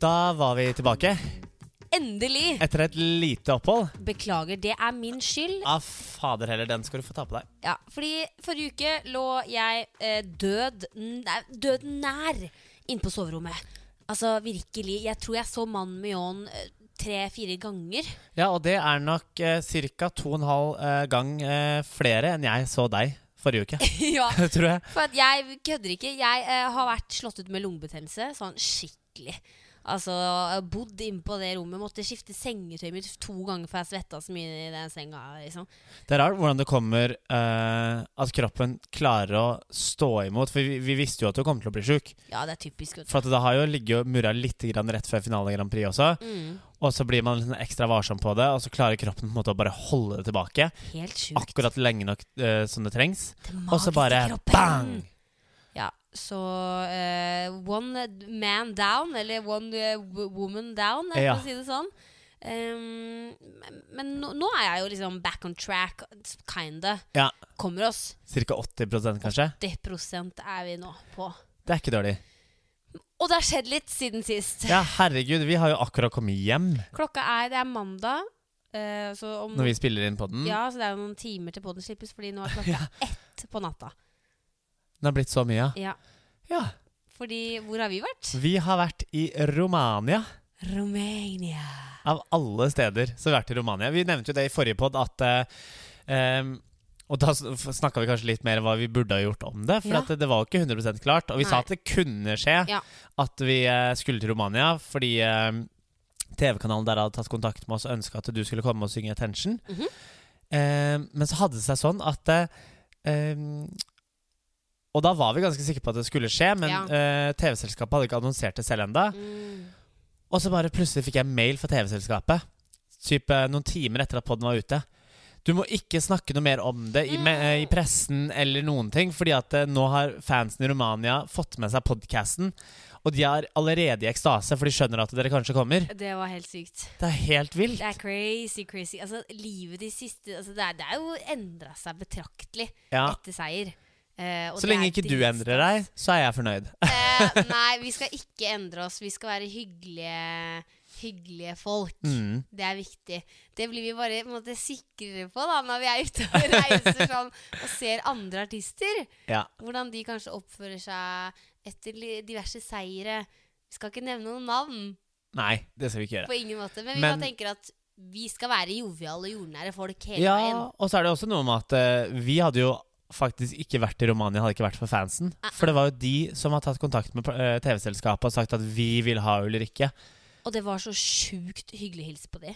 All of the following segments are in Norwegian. da var vi tilbake Endelig! etter et lite opphold. Beklager, det er min skyld. Ah, fader heller, den skal du få ta på deg. Ja, fordi forrige uke lå jeg eh, død, nei, død nær inne på soverommet. Altså virkelig. Jeg tror jeg så mannen med ljåen eh, tre-fire ganger. Ja, og det er nok eh, ca. to og en halv eh, gang eh, flere enn jeg så deg forrige uke, ja, tror jeg. for at jeg kødder ikke. Jeg eh, har vært slått ut med lungebetennelse sånn skikkelig. Altså, jeg har bodd inne på det rommet, måtte skifte sengetøyet mitt to ganger for jeg svetta så mye i den senga. liksom. Det er rart hvordan det kommer eh, at kroppen klarer å stå imot. For vi, vi visste jo at du kom til å bli sjuk. Ja, det er typisk. vet du. For at det har jo ligget og murra litt grann rett før finale Grand Prix også. Mm, Og så blir man litt sånn ekstra varsom på det, og så klarer kroppen på en måte å bare holde det tilbake helt sjukt. akkurat lenge nok eh, som det trengs. Den Og så magiske bare kroppen. bang! Ja, så eh, one man down, eller one eh, wo- woman down, eh, for Ja. å si det sånn. Ehm, men- men nå, nå er jeg jo liksom back on track, kinda. Ja. Kommer oss. Ca. 80 kanskje. 80 er vi nå på. Det er ikke dårlig. Og det har skjedd litt siden sist. Ja, herregud, vi har jo akkurat kommet hjem Klokka er Det er mandag. eh, så om når vi Mm. spiller inn på den. Ja, så det er jo noen timer til podden slippes, fordi nå er klokka ett på natta. Den har blitt så mye. Ja. Ja. Fordi hvor har vi vært? Vi har vært i Romania. Romania. Av alle steder så har vi vært i Romania. Vi nevnte jo det i forrige pod at eh, em, Og da snakka vi kanskje litt mer om hva vi burde ha gjort om det. For Ja. at det, det var jo ikke 100 klart. Og vi sa Nei. at det kunne skje Ja. at vi eh, skulle til Romania fordi em, TV-kanalen der hadde tatt kontakt med oss og ønska at du skulle komme og synge 'Attention'. Mhm. Em, men så hadde det seg sånn at eh, em, Og da var vi ganske sikre på at det skulle skje, men Ja. eh, TV-selskapet hadde ikke annonsert det selv enda Mm. og så bare plutselig fikk jeg mail fra TV-selskapet Typ eh, noen timer etter at podden var ute. Du må ikke snakke noe mer om det i, me- eh, i pressen eller noen ting, fordi at eh, nå har fansen i Romania fått med seg podkasten, og de er allerede i ekstase, for de skjønner at dere kanskje kommer. Det var helt sykt. Det er helt vilt. Det er crazy, crazy. Altså, livet de siste altså, Det er, det er jo endra seg betraktelig Ja. etter seier. Eh, og Så det er lenge ikke du dritstas. endrer deg, så er jeg fornøyd. Eh, nei, vi skal ikke endre oss. Vi skal være hyggelige, hyggelige folk. Mm. Det er viktig. Det blir vi bare på en måte, sikrere på da, når vi er ute og reiser sånn, og ser andre artister. Ja. Hvordan de kanskje oppfører seg etter li- diverse seire. Vi skal ikke nevne noen navn. Nei, det skal vi ikke gjøre. På ingen måte. Men vi Men- bare tenker at vi skal være joviale og jordnære folk hele veien. Ja, og så er det også noe med at eh, vi hadde jo faktisk ikke vært i Romania, hadde ikke vært for fansen. Ah, For det var jo de som har tatt kontakt med eh, TV-selskapet og sagt at vi vil ha Ulrikke. Og det var så sjukt hyggelig å hilse på de.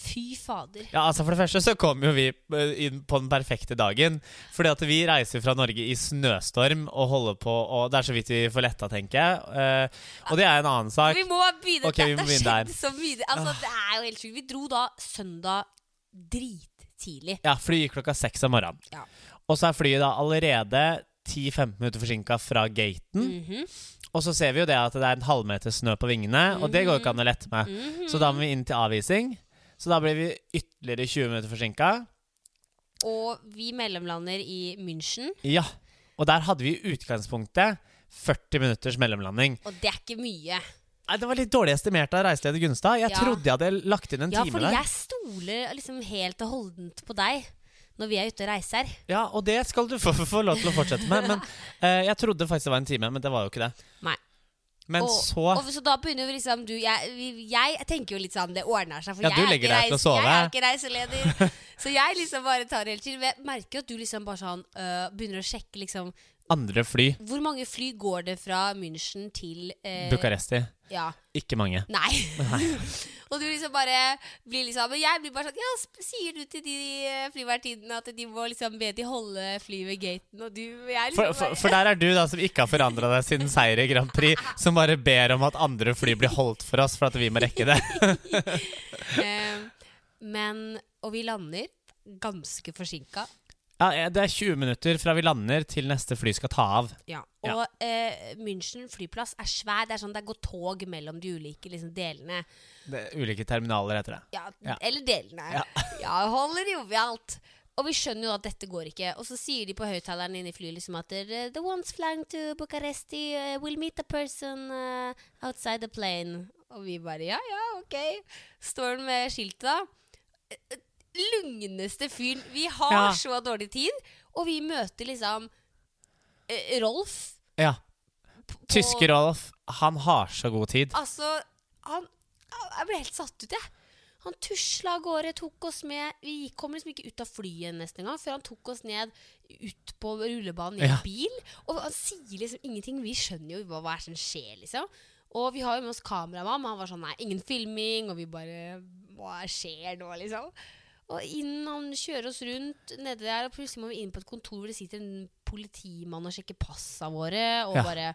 Fy fader. Ja, altså For det første så kom jo vi eh, inn på den perfekte dagen. Fordi at vi reiser fra Norge i snøstorm og holder på og Det er så vidt vi får letta, tenker jeg. Eh, og det er en annen sak. Vi må begynne. Ok, det vi må har begynne skjedd der. så mye. Altså, det er jo helt sjukt. Vi dro da søndag drittidlig. Ja, flyet gikk klokka seks om morgenen. Ja. Og så er flyet da allerede 10-15 minutter forsinka fra gaten. Mhm, Og så ser vi jo det at det er en halvmeter snø på vingene, og det går jo ikke an å lette med. mhm. Så da må vi inn til avvisning. Så da blir vi ytterligere 20 minutter forsinka. Og vi mellomlander i München, Ja. Og der hadde vi i utgangspunktet 40 minutters mellomlanding. og det er ikke mye. Nei, Det var litt dårlig estimert av reiseleder Gunstad. Jeg Ja. trodde jeg hadde lagt inn en Ja, time fordi der. jeg stoler liksom helt og holdent på deg når vi er ute og reiser. Ja, Og det skal du få, få lov til å fortsette med. Men eh, Jeg trodde faktisk det var en time, men det var jo ikke det. Nei. Men og, så og Så da begynner jo liksom du jeg, vi- jeg tenker jo litt sånn Det ordner seg, for Ja, jeg, du er legger ikke deg til å reis- sove. jeg er ikke reiseleder. så jeg liksom bare tar det helt til. Men Jeg merker jo at du liksom bare sånn øh, begynner å sjekke liksom andre fly. Hvor mange fly går det fra München til øh, Bucuresti. Ja. Ikke mange. Nei. og du liksom bare blir liksom Men jeg blir bare sånn Ja, sp- sier du til de øh, flyvertinnene at de må liksom be de holde flyet ved gaten, og du og jeg liksom For, for, for der er du da som ikke har forandra deg siden seier i Grand Prix, som bare ber om at andre fly blir holdt for oss for at vi må rekke det. bare ehm, Men Og vi lander ganske forsinka. Ja, eh, Det er 20 minutter fra vi lander til neste fly skal ta av. Ja. Ja. Og eh, München flyplass er svær. Det er sånn det går tog mellom de ulike liksom, delene. Det, ulike terminaler heter det. Ja, Ja. Eller delene. Ja. Ja, holder jovialt. Og vi skjønner jo at dette går ikke. Og så sier de på høyttaleren inne i flyet liksom at eh, The ones flying to Bucharesti eh, will meet a person eh, outside the plane. Og vi bare ja, ja, ok. Står han med skiltet da. Eh, Lugneste fyren. Vi har Ja. så dårlig tid, og vi møter liksom eh, Rolf. Ja. på- Tyske Rolf, han har så god tid. Altså, han Jeg ble helt satt ut, jeg. Han tusla av gårde, tok oss med Vi gikk- kom liksom ikke ut av flyet nesten engang før han tok oss ned ut på rullebanen i Ja. bil. Og han sier liksom ingenting. Vi skjønner jo hva hva er det som skjer, liksom. Og vi har jo med oss kameramann, men han var sånn nei, ingen filming. Og vi bare Hva skjer nå, liksom? Og inn han kjører oss rundt nede der, og plutselig må vi inn på et kontor hvor det sitter en politimann og sjekker passa våre. Og Ja. bare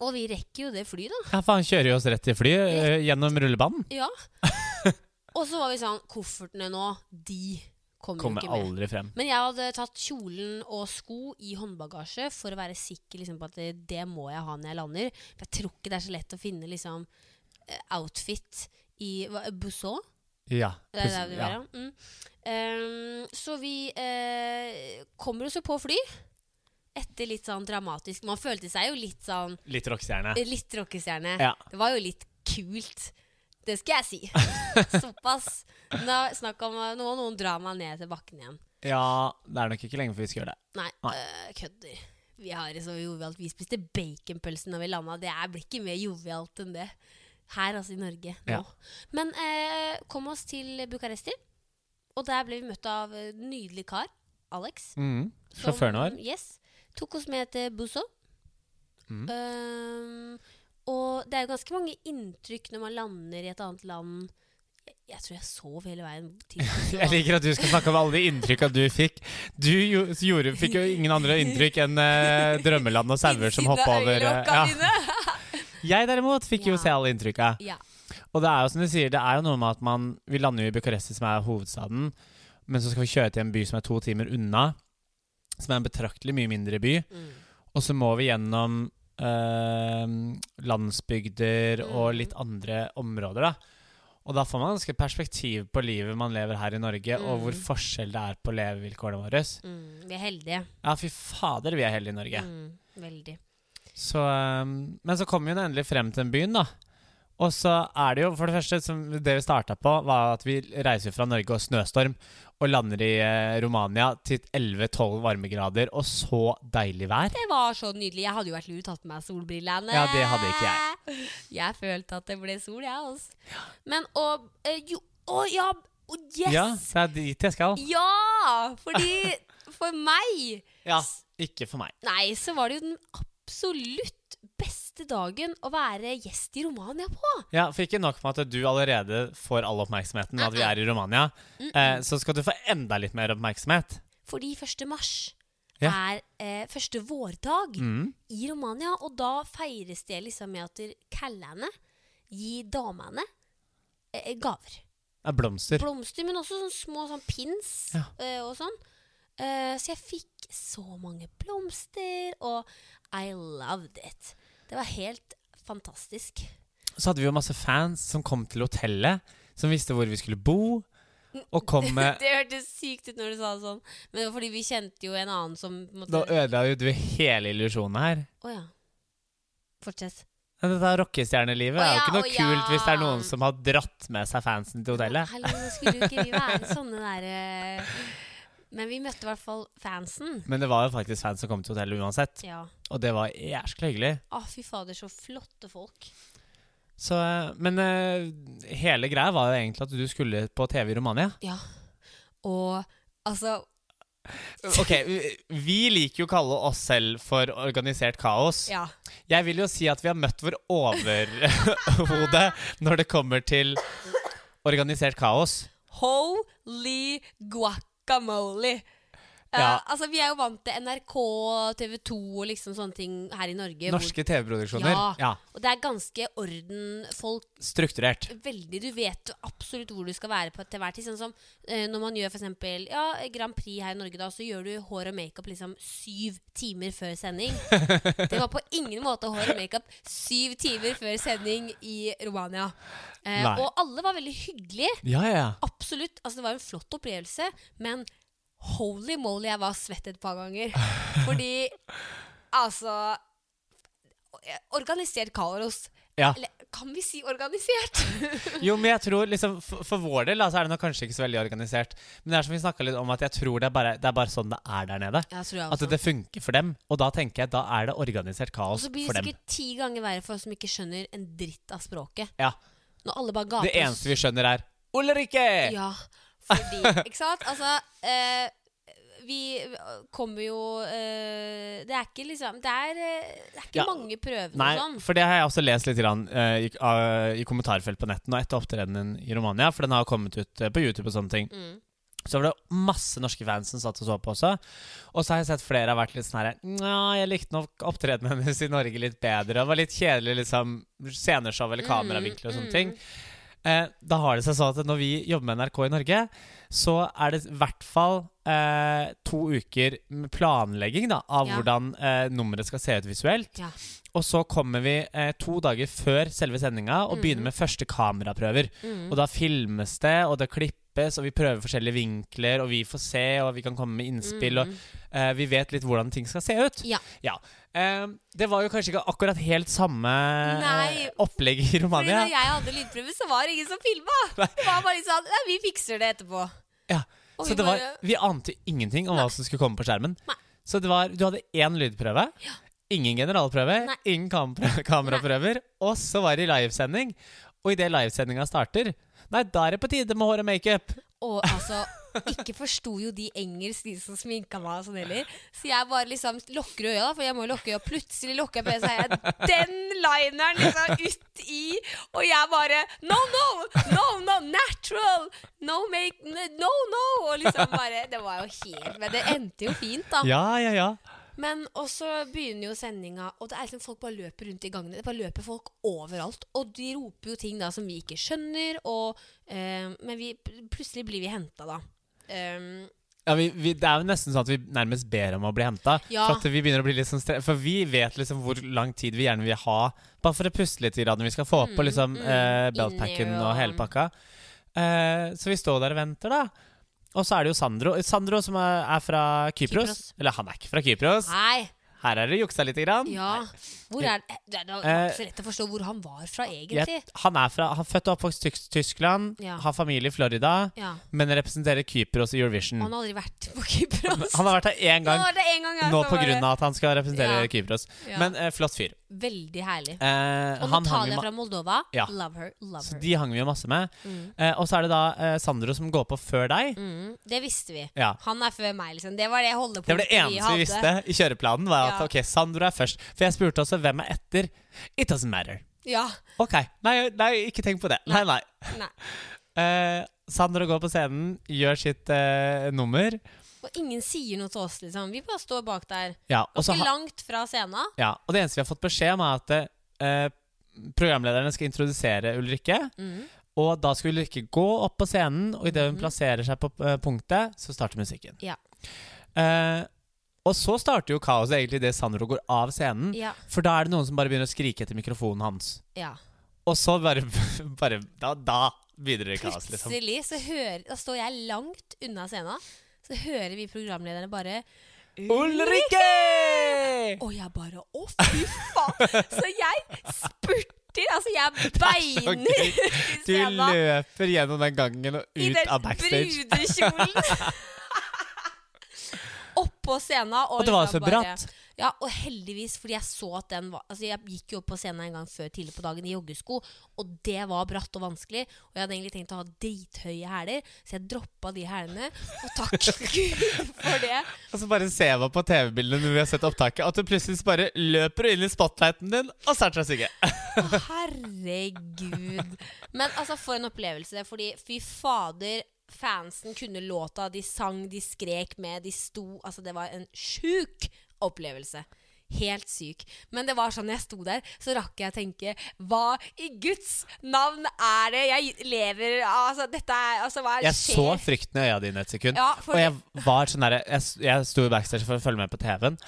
Og vi rekker jo det flyet, da. Ja, for han kjører jo oss rett i flyet eh, gjennom rullebanen. Ja. Og så var vi sånn Koffertene nå, de kommer jo Kommer ikke med. aldri frem. Men jeg hadde tatt kjolen og sko i håndbagasje for å være sikker liksom, på at det, det må jeg ha når jeg lander. For jeg tror ikke det er så lett å finne liksom, eh, outfit i hva- Busson. Ja. Det er der vi ja. var, ja. Mm. Ehm, så vi eh, kommer oss jo på fly. Etter litt sånn dramatisk Man følte seg jo litt sånn Litt rockestjerne. eh, Litt rockestjerne. Ja. Det var jo litt kult. Det skal jeg si. Såpass. Nå, snakk om eh, Nå må noen drar meg ned til bakken igjen. ja, det er nok ikke lenge før vi skal gjøre det. Nei, Nei. øh, kødder. Vi har så jovialt. Vi spiste baconpølse når vi landa. Det er- blir ikke mer jovialt enn det. Her, altså, i Norge. Nå. Ja. Men eh, kom oss til Bucuresti, og der ble vi møtt av eh, en nydelig kar. Alex. Mm. som- Sjåføren vår. Yes. Tok oss med til Busso. Mm. Ehm, og det er jo ganske mange inntrykk når man lander i et annet land. Jeg, jeg tror jeg sov hele veien til Busso. Jeg liker at du skal snakke om alle de inntrykka du fikk. Du jo, gjorde, fikk jo ingen andre inntrykk enn eh, drømmeland og sauer som Innsiden av hoppa over eh, øyelokka ja. mine. Jeg derimot fikk Ja. jo se alle inntrykka. Ja. Og det er jo som du sier, det er jo noe med at man Vi lander jo i Bucuresti, som er hovedstaden, men så skal vi kjøre til en by som er to timer unna, som er en betraktelig mye mindre by, Mm. og så må vi gjennom eh, landsbygder og Mm. litt andre områder, da. Og da får man ganske perspektiv på livet man lever her i Norge, og hvor Mm. forskjell det er på levevilkårene våre. Mm, vi er heldige. Ja, fy fader, vi er heldige i Norge. Mm, veldig. Så, um, men så kom vi jo endelig frem til den byen, da. Og så er det jo, for det første, som det vi starta på, var at vi reiser fra Norge og snøstorm og lander i eh, Romania til 11-12 varmegrader og så deilig vær. Det var så nydelig. Jeg hadde jo vært lur tatt på meg solbrillene. Ja, det hadde ikke jeg. Jeg følte at det ble sol, jeg, altså. Men og eh, Jo, å ja! å, yes! Ja, Ja. det er dit jeg skal. Fordi for meg Ja, ikke for meg. Nei, så var det jo den absolutt beste dagen å være gjest i Romania på. Ja, For ikke nok med at du allerede får all oppmerksomheten med at vi er i Romania, eh, så skal du få enda litt mer oppmerksomhet. Fordi 1. mars Ja. er eh, første vårdag. Mm. i Romania, og da feires det liksom med at der- kallene gir damene eh, gaver. Det er blomster. Blomster, men også sånne små sånn pins Ja. eh, og sånn. Eh, så jeg fikk så mange blomster, og I loved it. Det var helt fantastisk. så hadde vi jo masse fans som kom til hotellet, som visste hvor vi skulle bo, og kom med Det hørtes sykt ut når du sa det sånn, men det var fordi vi kjente jo en annen som på en måte- Da ødela jo du hele illusjonen her. Å ja. Fortsett. Men Dette her rockestjernelivet er jo Å ja, ikke noe å ja. kult hvis det er noen som har dratt med seg fansen til hotellet. Hallo, nå skulle jo ikke vi være sånne der eh, Men vi møtte i hvert fall fansen. Men det var jo faktisk fans som kom til hotellet uansett, Ja. og det var jæskla hyggelig. Å, fy fader, så flotte folk. Så, eh, men eh, hele greia var jo egentlig at du skulle på TV i Romania. Og altså Ok, vi- vi liker jo å kalle oss selv for organisert kaos. Ja. Jeg vil jo si at vi har møtt vår overhode når det kommer til organisert kaos. Holy guacamole! Eh, Ja. altså, Vi er jo vant til NRK, TV 2 og liksom sånne ting her i Norge. hvor- Norske TV-produksjoner. Ja. Ja. Og det er ganske orden folk Strukturert. veldig Du vet jo absolutt hvor du skal være på til hver tid. Sånn som eh, når man gjør for eksempel, ja, Grand Prix her i Norge, da, så gjør du hår og makeup liksom syv timer før sending. Det var på ingen måte hår og makeup syv timer før sending i Romania. Eh, Nei. og alle var veldig hyggelige. Ja, ja, ja. Absolutt. Altså, det var en flott opplevelse, men holy moly, jeg var svett et par ganger. Fordi altså Organisert kaos Ja. eh, Eller kan vi si organisert? Jo, men jeg tror liksom, for, for vår del da, så er det nok kanskje ikke så veldig organisert. Men det er som vi snakket litt om, at jeg tror det er bare, det er bare sånn det er der nede. ja, tror jeg At også. det funker for dem. Og da tenker jeg, da er det organisert Og kaos så blir for det dem. sikkert ti ganger verre for oss som ikke skjønner en dritt av språket. Ja. Når alle bare Det gaper. eneste vi skjønner, er Ulrikke! Ja, fordi Ikke sant? Altså eh, vi kommer jo eh, Det er ikke liksom Det er, eh, det er ikke Ja. mange prøver Nei, og sånn. for det har jeg også lest litt grann, eh, i, av- i kommentarfelt på netten og etter opptredenen i Romania, for den har kommet ut eh, på YouTube og sånne ting. Mm. Så var det masse norske fans som satt og så på også. Og så har jeg sett flere har vært litt sånn her Nja, jeg likte nok opptredenen hennes i Norge litt bedre. Det var litt kjedelig, liksom. Sceneshow eller kameravinkler og Mm, sånne mm. ting. Eh, da har det seg sånn at når vi jobber med NRK i Norge, så er det i hvert fall eh, to uker med planlegging da, av Ja. hvordan eh, nummeret skal se ut visuelt. Ja. Og så kommer vi eh, to dager før selve sendinga og begynner med første kameraprøver. Mm. Og da filmes det, og det klippes, og vi prøver forskjellige vinkler, og vi får se, og vi kan komme med innspill, Mm. og eh, vi vet litt hvordan ting skal se ut. Ja. Eh, det var jo kanskje ikke akkurat helt samme eh, Nei. opplegg i Fordi Romania. når jeg hadde lydprøve, så var det ingen som filma! Det var bare litt sånn Nei, vi fikser det etterpå. Ja. Og Så vi det var, bare vi ante ingenting om hva som skulle komme på skjermen. Nei. Så det var, du hadde én lydprøve, ingen generalprøve, Nei. ingen kamera, kameraprøver, og så var det livesending. Og idet livesendinga starter Nei, da er det på tide med hår og makeup! Og altså, ikke forsto jo de engelsk, de som sminka meg og sånn heller. Så jeg bare liksom lukker øya, da, for jeg må jo lukke øya. Plutselig lukker jeg på øya, så er jeg den lineren liksom ut i, og jeg bare No, no! No, no! Natural! No make No, no! Og liksom bare Det var jo helt Men det endte jo fint, da. Ja, ja, ja. Men og så begynner jo sendinga, og det er liksom folk bare løper rundt i gangene. Det bare løper folk overalt. Og de roper jo ting da som vi ikke skjønner, og, eh, men vi, plutselig blir vi henta, da. Eh, ja vi, vi, det er jo nesten sånn at vi nærmest ber om å bli henta. Ja. For, at vi begynner å bli litt sånn stre for vi vet liksom hvor lang tid vi gjerne vil ha bare for å puste litt i radioen. Vi skal få på Mm, liksom, mm. eh, Inni beltpacken og- og hele pakka. Eh, så vi står der og venter, da. Og så er det jo Sandro. Sandro som er, er fra Kypros. Kypros. Eller han er ikke fra Kypros. nei, Her er det juksa lite grann. ja Hvor er det Det er det var ikke så lett å forstå hvor han var fra, egentlig. Eh, Jeg- han er fra, han er født og oppvokst i Tysk- Tyskland, Ja. har familie i Florida, Ja. men representerer Kypros i Eurovision. Han har aldri vært på Kypros. Mm. Han har vært her én gang, Nå var det en gang jeg nå så på var det- grunn av at han skal representere Ja. Kypros. Ja. Men eh, flott fyr. Veldig herlig. Eh, Og han hang Natalia jo ma- fra Moldova. Ja. Love her. Love så her. de hang vi jo masse med. Mm. Eh, og så er det da eh, Sandro som går på før deg. Mm, det visste vi. Ja. Han er før meg, liksom. Det var det holdepunktet Det var det eneste vi visste i kjøreplanen. Var at Ja. ok, Sandro er først. For jeg spurte også hvem er etter. It doesn't matter. Ja. Ok, nei, nei ikke tenk på det. Nei, nei. Nei. Eh, Sandro går på scenen, gjør sitt eh, nummer. Og ingen sier noe til oss, liksom. Vi bare står bak der. Ja, og, så Ikke ha, langt fra scenen. ja, og det eneste vi har fått beskjed om, er at eh, programlederne skal introdusere Ulrikke. Mm. Og da skal Ulrikke gå opp på scenen, og idet hun plasserer seg på eh, punktet, så starter musikken. Mhm. Ja. Eh, og så starter jo kaoset egentlig idet Sandro går av scenen. Ja. For da er det noen som bare begynner å skrike etter mikrofonen hans. ja. Og så bare, bare da, da begynner det kaos, liksom. Plutselig så hører Da står jeg langt unna scenen, så hører vi programlederne bare Ulrikke! Og jeg bare Å, fy faen! Så jeg spurter! Altså, jeg beiner gøy. til Du scenen løper gjennom den gangen og i ut den av backstage. brudekjolen. Oppå scenen. Og, Og det var liksom så bare- bratt. Ja, og heldigvis, fordi jeg så at den var Altså, jeg gikk jo opp på scenen en gang før tidlig på dagen i joggesko, og det var bratt og vanskelig, og jeg hadde egentlig tenkt å ha drithøye hæler, så jeg droppa de hælene, og takk Gud for det. Og så bare ser man på TV-bildene når vi har sett opptaket, at du plutselig bare løper inn i spotlighten din og starter å synge. Å, herregud. Men altså, for en opplevelse, fordi fy fader, fansen kunne låta, de sang, de skrek med, de sto Altså, det var en sjuk opplevelse. Helt syk. Men det var sånn jeg sto der, så rakk jeg å tenke Hva i Guds navn er det jeg lever av? Altså, dette er Altså, hva er det Jeg så skjer? frykten i øya dine et sekund. Ja, for og jeg var sånn der, jeg, jeg sto i backstage for å følge med på TV-en.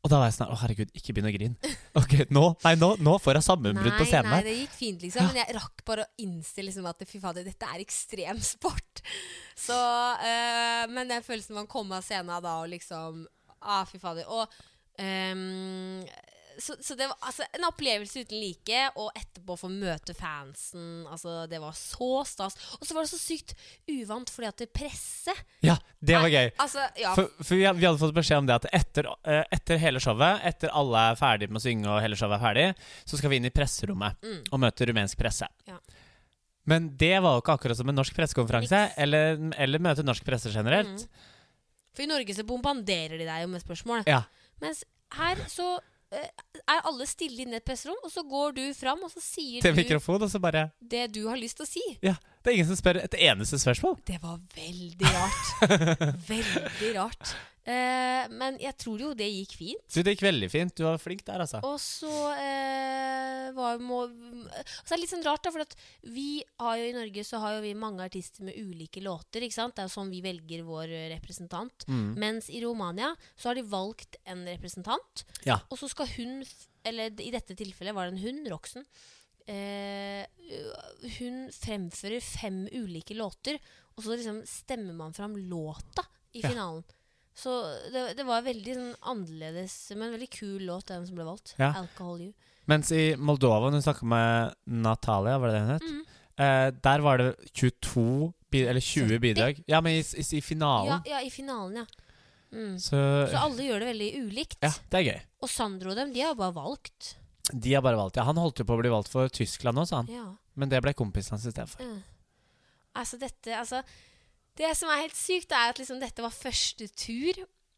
Og da var jeg sånn her, Å, herregud, ikke begynn å grine. Ok, nå, nei, nå, nå får jeg sammenbrudd på scenen nei, her. det gikk fint, liksom. Men jeg rakk bare å innse liksom, at fy fader, dette er ekstrem sport. Så, eh, men den følelsen man kom av scenen da, og liksom ah, Fy fader. Og ehm, så, så det var altså, en opplevelse uten like, og etterpå få møte fansen. Altså, det var så stas. Og så var det så sykt uvant fordi at det presse Ja, det var gøy. Altså, ja, For, for vi, hadde, vi hadde fått beskjed om det at etter, eh, etter hele showet, etter alle er ferdig med å synge, og hele showet er ferdig, så skal vi inn i presserommet Mm. og møte rumensk presse. Ja. Men det var jo ikke akkurat som en norsk pressekonferanse, Niks. Mm. eller, eller møte norsk presse generelt. for i Norge så bombanderer de deg jo med spørsmål. Ja. Mens her så eh, er alle stille inne i et presserom, og så går du fram og så sier Til du mikrofon, og så bare det du har lyst til å si. Ja. Det er ingen som spør et eneste spørsmål. Det var veldig rart. veldig rart. Eh, men jeg tror jo det gikk fint. Du, det gikk veldig fint. Du var flink der, altså. Og så eh, var må, altså Det er litt sånn rart, da, for at vi har jo i Norge så har jo vi mange artister med ulike låter. ikke sant? Det er jo sånn vi velger vår eh, representant. Mm. Mens i Romania så har de valgt en representant, Ja. og så skal hun, f- eller i dette tilfellet var det en hund, Roxen, eh, hun fremfører fem ulike låter, og så liksom stemmer man fram låta i Ja. finalen. Så det, det var veldig sånn annerledes, men veldig kul låt, den som ble valgt. Ja. 'Alcohol You'. Mens i Moldova, når hun snakka med Natalia, var det det hun het? Mhm. Eh, der var det 22 bi- eller 20 bidrag. Ja, men i, i, i finalen. Ja, ja, i finalen, ja. Mm. Så, Så alle gjør det veldig ulikt. ja, det er gøy. Og Sandro og dem, de har jo bare valgt. De har bare valgt ja, Han holdt jo på å bli valgt for Tyskland nå, sa han. Ja. Men det ble kompisen hans istedenfor. Ja. Mm. Altså dette, altså Det som er helt sykt er at liksom dette var første tur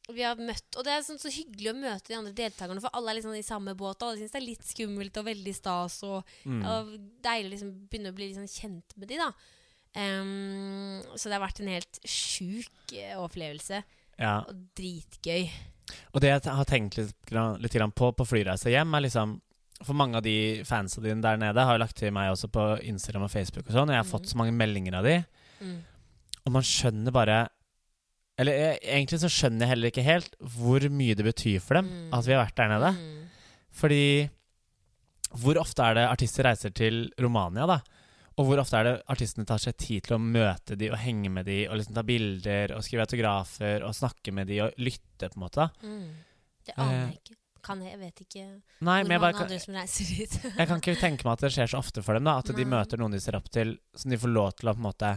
vi har møtt Og det er sånn så hyggelig å møte de andre deltakerne For alle er liksom i samme båt og Alle synes det er litt skummelt og veldig stas Og, Mm. og deilig å liksom begynne å bli liksom kjent med de da Ehm, Så det har vært en helt syk eh, opplevelse Ja. Og dritgøy Og det jeg har tenkt litt, grann- litt grann på på flyreise hjem, er liksom For mange av de fansa dine der nede har jo lagt til meg også på Instagram og Facebook og sånn, og jeg har fått så mange meldinger av de, mm. og man skjønner bare Eller eh, egentlig så skjønner jeg heller ikke helt hvor mye det betyr for dem Mm. at vi har vært der nede. Mm. Fordi hvor ofte er det artister reiser til Romania, da? Og hvor ofte er det artistene tar seg tid til å møte de og henge med de og liksom ta bilder og skrive autografer og snakke med de og lytte, på en måte? da? Mm. Det aner jeg ikke Kan jeg, jeg vet ikke Hvor Eh. Nei, men mange jeg, bare, kan, andre som reiser dit jeg kan ikke tenke meg at det skjer så ofte for dem, da. At de Nei. møter noen de ser opp til, som de får lov til å på en måte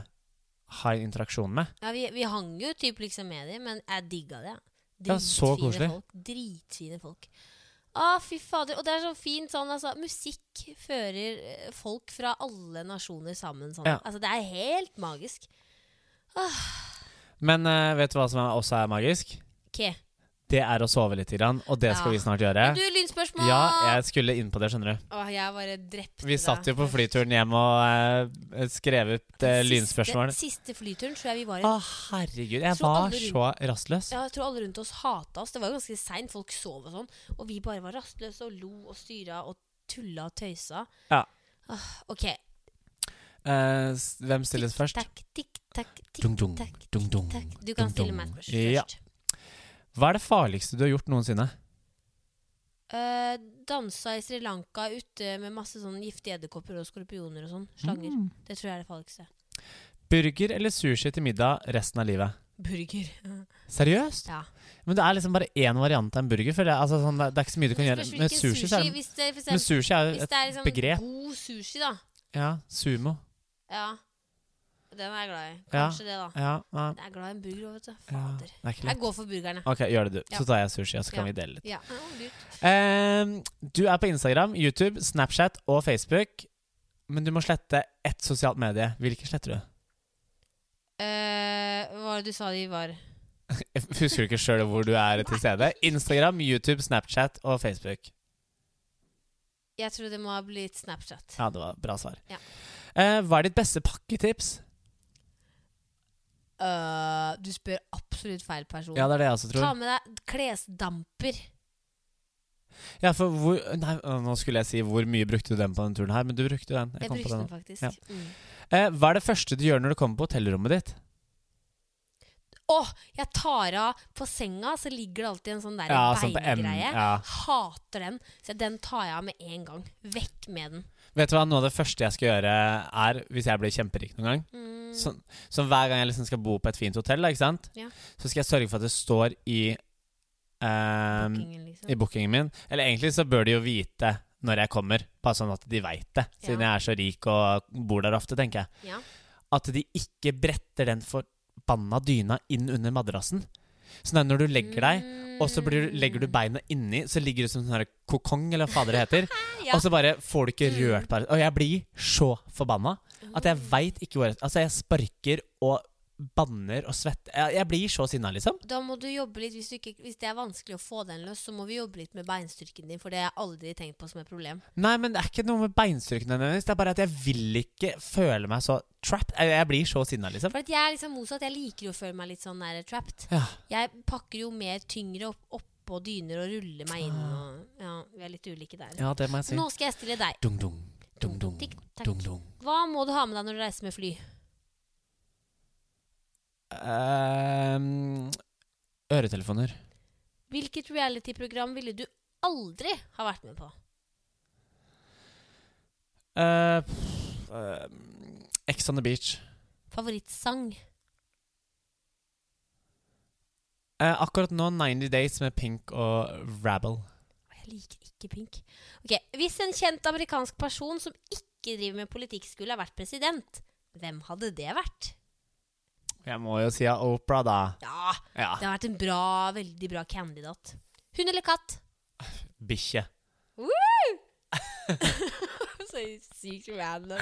ha en interaksjon med. Ja, vi, vi hang jo typ liksom med dem, men jeg digga det. Ja, så Dritfine koselig. Folk, dritfine folk. Å, fy fader. Og det er så fint sånn, altså. Musikk fører eh, folk fra alle nasjoner sammen sånn. Ja. Altså, det er helt magisk. Men eh, vet du hva som er, også er magisk? Ok. Det er å sove litt, grann, og det skal Ja. vi snart gjøre. Du, lynspørsmål! Ja, jeg skulle inn på det, skjønner du. Å, jeg bare drepte Vi deg. satt jo på flyturen hjem og eh, skrev ut eh, lynspørsmål. Ah. Siste, siste flyturen tror jeg vi var i. Å, herregud. Jeg Tror var alle rundt- så rastløs. Ja, jeg tror alle rundt oss hata oss. Det var jo ganske seint, folk sov og sånn. Og vi bare var rastløse og lo og styra og tulla og tøysa. Ja. Åh, OK. Eh, s- hvem stilles først? Takk, tikk, takk, tikk, Dung, dung, takk, dung, dung. takk. Du kan dum, stille dum. meg et spørsmål Ja. først. Hva er det farligste du har gjort noensinne? Eh, dansa i Sri Lanka ute med masse sånn giftige edderkopper og skorpioner og sånn. Slanger. Mm. Det tror jeg er det farligste. Burger eller sushi til middag resten av livet? Burger. Seriøst? Ja. Men det er liksom bare én variant av en burger. føler jeg. altså, sånn, det, det er ikke så mye du kan gjøre. Spørs Med hvilken sushi, så er det, Hvis det, for men eksempel, sushi er jo hvis et det er liksom begrep. god sushi, da. Ja, sumo. Ja. Den er jeg glad i. Ja. Kanskje det, da. Ja, ja, Jeg er glad i en burger òg, vet du. ja. Fader. Det er ikke Jeg lett. går for burgeren, jeg. Ok, gjør det, du. Ja. Så tar jeg sushi, og så kan Ja. vi dele litt. Ja. Ja, lurt. Ehm, du er på Instagram, YouTube, Snapchat og Facebook. Men du må slette ett sosialt medie. Hvilke sletter du? Eh, hva var det du sa de var? Husker du ikke sjøl hvor du er til stede? Instagram, YouTube, Snapchat og Facebook. Jeg tror det må ha blitt Snapchat. Ja, det var bra svar. Ja. Eh, hva er ditt beste pakketips? Eh, du spør absolutt feil person. Ja, det er det jeg også Ta tror. med deg klesdamper. Ja, for hvor, nei, å, nå skulle jeg si hvor mye brukte du den på denne turen her, men du brukte den. Jeg Jeg kom på brukte den. den faktisk. Ja. Mm. Eh, hva er det første du gjør når du kommer på hotellrommet ditt? Åh, jeg tar av på senga, så ligger det alltid en sånn der beingreie. Ja. Hater den. Så den tar jeg av med en gang. Vekk med den. Vet du hva, noe av det første jeg skal gjøre, er, hvis jeg blir kjemperik noen gang, Mm. Sånn, så hver gang jeg liksom skal bo på et fint hotell, da, ikke sant? Ja. så skal jeg sørge for at det står i eh, bookingen, liksom. i bookingen min. Eller egentlig så bør de jo vite når jeg kommer, bare sånn at de veit det. Siden Ja. jeg er så rik og bor der ofte, tenker jeg. Ja. At de ikke bretter den forbanna dyna inn under madrassen. Så når du legger deg, og så blir, Mm. du- legger du beina inni, så ligger du som en sånn her kokong, eller hva fader det heter. Ja. Og så bare får du ikke Mm. rørt bare. Og jeg blir så forbanna at jeg veit ikke hvor jeg Altså, jeg sparker og banner og svetter. Jeg, jeg blir så sinna, liksom. Da må du jobbe litt, hvis, du ikke, hvis det er vanskelig å få den løs, så må vi jobbe litt med beinstyrken din, for det har jeg aldri tenkt på som et problem. Nei, men det er ikke noe med beinstyrken hennes. Det er bare at jeg vil ikke føle meg så trapped. Jeg, jeg blir så sinna, liksom. For at jeg er liksom motsatt, jeg liker jo å føle meg litt sånn der trapped. Ja. Jeg pakker jo mer tyngre opp, oppå dyner og ruller meg inn og Ja, vi er litt ulike der. Ah. Ja, det må jeg si. Nå skal jeg stille deg. Dung, dung, dung, dung, Tikk, takk. dung, dung. Hva må du ha med deg når du reiser med fly? Ehm, øretelefoner. Hvilket reality-program ville du aldri ha vært med på? Eh, pff, ehm, Ex on the beach. Favorittsang? Eh, akkurat nå 90 Days med Pink og Rabble. Å, Jeg liker ikke pink. Ok, Hvis en kjent amerikansk person som ikke driver med politikk, skulle ha vært president, hvem hadde det vært? Jeg må jo si ja, Opera, da. Ja, Ja. det har vært en bra, veldig bra kandidat. Hund eller katt? Bikkje. Så sykt random.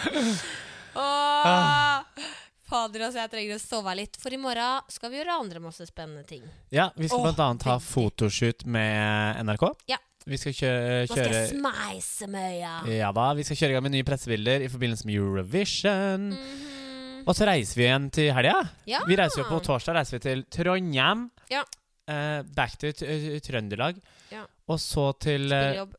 Ah. Åh, fader, altså, jeg trenger å sove litt, for i morgen skal vi gjøre andre masse spennende ting. Ja, vi skal Åh, blant annet ha veldig. fotoshoot med NRK. Ja. Vi skal kjøre, Nå skal kjøre jeg smeise møya. Ja da, vi skal kjøre i gang med nye pressebilder i forbindelse med Eurovision. Mhm. Og så reiser vi igjen til helga. Ja. Vi reiser jo på torsdag reiser vi til Trondheim. Ah. Ja. Eh, back to t- eh, Trøndelag. Ja. Og så til eh, Spillejobb.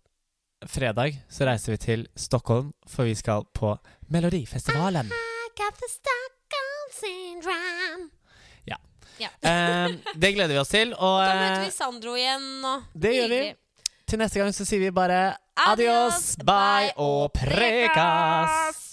fredag så reiser vi til Stockholm, for vi skal på Melodifestivalen. I got the Stockholm syndrome. Eh, det gleder vi oss til. Og Ah. Da møter eh, vi Sandro igjen. Og det gjør vi. Hyggelig. til neste gang så sier vi bare Adios, adios, bye og prekas!